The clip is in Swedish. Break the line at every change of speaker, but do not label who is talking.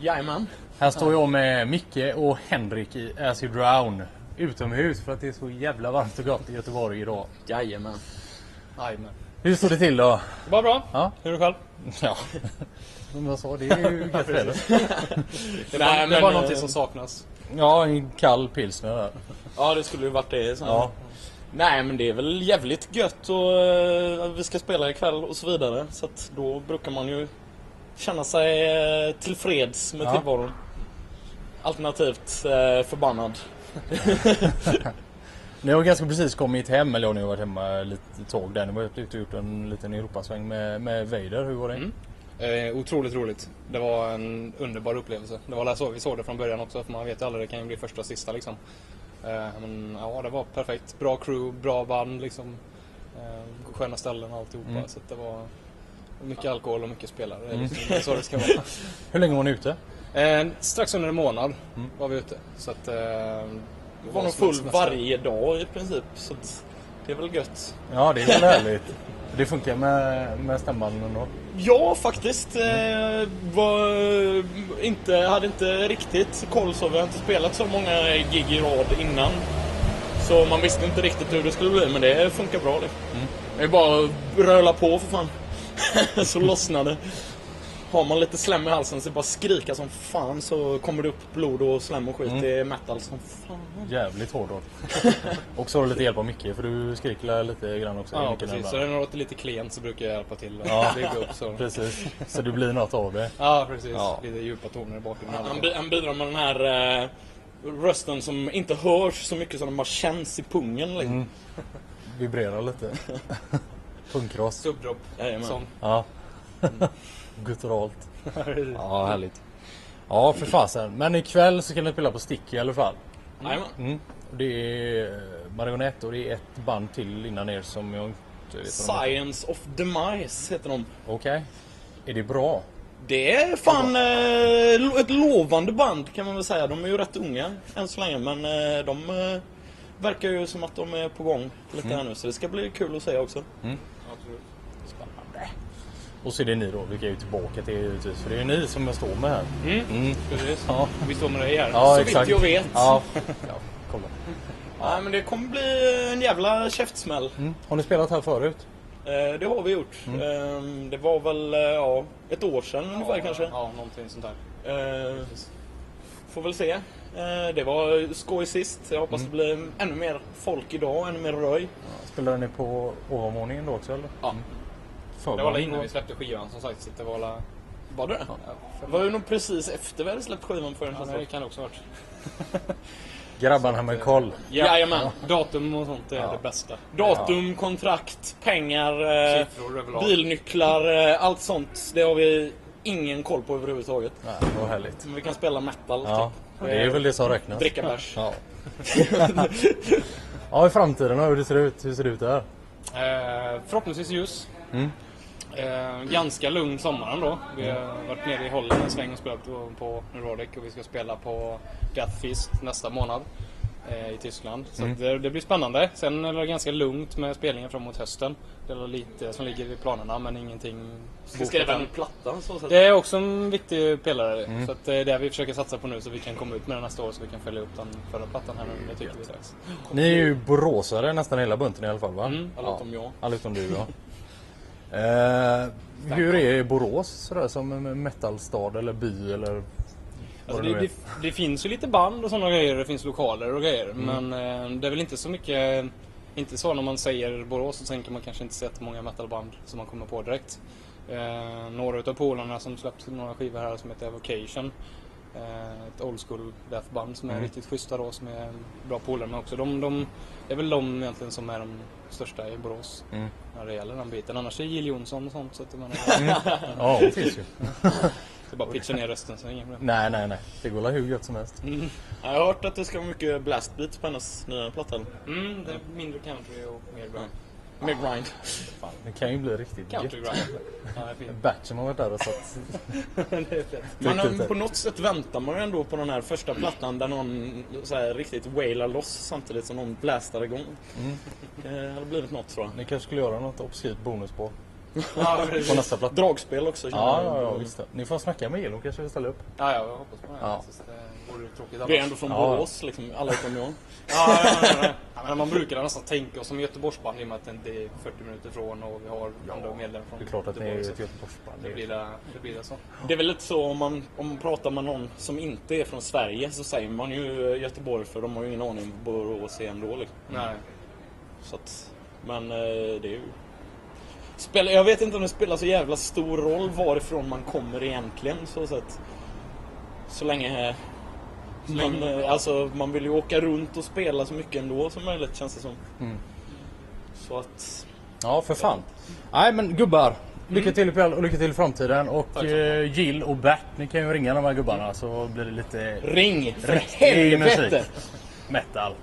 Jajamän.
Här står jag med Micke och Henrik i As You Drown. Utomhus för att det är så jävla varmt och gott i Göteborg idag.
Jajamän.
Jajamän.
Hur står det till då?
Det var bra.
Ja.
Hur är det själv?
Ja. Som jag sa, det är ju gött väder.
Det
Nej,
var, det
men,
var
eh,
någonting som saknas.
Ja, en kall pilsner där.
Ja, det skulle ju varit det. Sen.
Ja.
Nej, men det är väl jävligt gött och eh, vi ska spela ikväll och så vidare. Så att då brukar man ju känna sig eh, tillfreds med
Ja.
tillvaron. Alternativt eh, förbannad.
Ni har ganska precis kommit hem, eller ja, ni har varit hemma lite tag där. Ni var ute och gjort en liten Europasväng med, med Vader. Hur var det?
Mm. Eh, otroligt roligt. Det var en underbar upplevelse. Det var där så vi såg det från början också, för man vet ju aldrig, det kan ju bli första och sista liksom. Eh, men ja, det var perfekt. Bra crew, bra band liksom. Eh, sköna ställen och alltihopa.
Mm.
Så att det var mycket alkohol och mycket spelare. Det är Liksom, det är så det ska vara.
Hur länge var ni ute?
Eh, strax under en månad
Mm.
var vi ute. Så att, eh, det
Det var nog
som ett
full
semester.
varje dag i princip. Så att det är väl gött.
Ja, det är väl härligt. Det funkar med, med stämbanden då.
Ja, faktiskt. Eh, var, eh, inte, hade inte riktigt koll så. Vi har inte spelat så många gig i rad innan. Så man visste inte riktigt hur det skulle bli, men det funkar bra det. Det är bara att röla på för fan. så lossnar det. Har man lite slem i halsen så är det bara att skrika som fan så kommer det upp blod och slem och skit. Det är metal som fan.
Jävligt hårdrock. Och så har du lite hjälp av Micke, för du skriker lite grann också. i
Ja,
micken
precis. Så
ibland.
när det låter lite klent så brukar jag hjälpa till att
Ja.
bygga upp. Så.
Precis. Så det blir något av det.
Ja, precis.
Ja.
Lite djupa toner i bakgrunden.
Han, bi- han bidrar med den här eh, rösten som inte hörs så mycket som den bara känns i pungen. Liksom.
Vibrerar lite. Punkross.
Subdrop.
Jajamän.
Sånt.
Ja. Gutturalt.
Precis.
Ja, härligt. Ja, för fasen. Men ikväll så kan ni spela på Sticky i alla fall.
Jajamän.
Mm. Och Det är eh, Marionette och det är ett band till innan er som jag inte vet vad de heter.
Science of Demise heter de.
Okej. Är det bra?
Det är fan eh, lo- ett lovande band kan man väl säga. De är ju rätt unga än så länge men eh, de eh, verkar ju som att de är på gång lite
Mm.
här nu så det ska bli kul att se också.
Spännande. Och så är det ni då, vilka är ju tillbaka till er givetvis. För det är ju ni som jag står med här. Ja.
Vi står med dig här.
Ja,
Så vitt jag vet.
Ja. ja, kolla.
Nej men det kommer bli en jävla käftsmäll.
Mm. Har ni spelat här förut?
Eh, det har vi gjort. Eh, det var väl eh, ja, ett år sedan ungefär kanske.
Ja, någonting sånt där.
Eh, får väl se. Eh, det var skoj sist. Jag hoppas det blir ännu mer folk idag, ännu mer röj.
Spelade ni på ovanvåningen då också eller?
Ja. Det var
Förvåningen
väl innan
då?
vi släppte skivan som sagt. Så det var väl...
Var det
Ja,
Det var ju nog precis efter vi hade släppt skivan för en
ja,
fast
det kan det också ha varit.
Grabbarna med koll.
Jajamän.
Datum och sånt är
Ja.
det bästa.
Datum, kontrakt, pengar, eh,
Siffror överlag.
bilnycklar, eh, allt sånt. Det har vi ingen koll på överhuvudtaget.
Nej, vad härligt.
Men vi kan spela metal,
Ja,
typ.
det är väl det som räknas.
Dricka bärs.
Ja. ja, i framtiden då, hur det ser ut. Hur ser det ut där?
Eh, förhoppningsvis ljus. Eh, ganska lugn sommaren då. Vi har varit nere i Holland en sväng och spelat på, på Nordic och vi ska spela på Death Feast nästa månad eh, i Tyskland. Så att det, det blir spännande. Sen är det ganska lugnt med spelningar framåt hösten. Det är lite som ligger i planerna men ingenting
Vi ska skriva en platta så sätt.
Det är också en viktig pelare. Så att eh, det är det vi försöker satsa på nu så vi kan komma ut med den nästa år så vi kan följa upp den förra plattan här nu. Det tycker vi är dags.
Ni är ju boråsare nästan hela bunten i alla fall va?
Mm,
alla utom jag.
Alla utom du ja. Eh, hur är Borås sådär som en metalstad eller by eller vad
Alltså
det
det,
nu
det,
är?
det finns ju lite band och sådana grejer, det finns lokaler och grejer.
Mm.
Men eh, det är väl inte så mycket, inte så när man säger Borås så tänker man kanske inte så många metalband som man kommer på direkt. Eh, några utav polarna som släppt några skivor här som heter Evocation. Eh, ett old school deathband
Mm.
som är riktigt schyssta då, som är bra polare med också. De, de, det är väl de egentligen som är de största i Borås
Mm.
när det gäller den biten. Annars är Jill Johnson och sånt så att man
Ja, det finns ju.
ska bara pitcha ner rösten så är det inget problem.
Nej, nej, nej. Det går väl hur gött som helst.
Jag har hört att det ska vara mycket blastbeats på hennes nya platta.
Mm, det är mindre country och mer bra.
Med grind.
Fan, det kan ju bli riktigt gött.
Country grind. Ja, det är fint.
Batchen har varit där och satt
Det är fett.
Men
Riktigt,
eh, på
det.
något sätt väntar man ju ändå på den här första plattan där någon så här, riktigt wailar loss samtidigt som
Mm.
någon blastar igång. Eh, Det hade blivit något tror jag.
Ni kanske skulle göra något obskyrt bonusspår.
Ja,
på
precis.
nästa platta.
Dragspel också. känner
Ja,
jag.
ja, ja, visst. Ni får snacka med Elon kanske vi ställer upp.
Ja, ja, jag hoppas på det.
Ja.
Så Det vore ju tråkigt annars.
Vi är ändå från
Ja.
Borås, liksom, alla utom jag.
Ja, ja, ja, ja. ja, men man brukar nästan tänka oss som Göteborgsband i och med att det är 40 minuter från och vi har andra medlemmar från
Det är klart att ni är
Göteborg,
ju
så
ett Göteborgsband.
det blir det, det blir det så.
Det är väl lite så om man, om man pratar med någon som inte är från Sverige så säger man ju eh, Göteborg för de har ju ingen aning om vad Borås är ändå. Liksom.
Nej.
Så att, men eh, det är ju... Spel, jag vet inte om det spelar så jävla stor roll varifrån man kommer egentligen. Så, så, att, så länge... eh, Man, eh, alltså, man vill ju åka runt och spela så mycket ändå som möjligt känns det som. Så att...
Ja, för fan. Nej, men gubbar. Lycka till ikväll och lycka till i framtiden. Och eh, Jill och Bert, ni kan ju ringa de här gubbarna så blir det lite
Ring! För
riktig
helvete!
musik. Metal.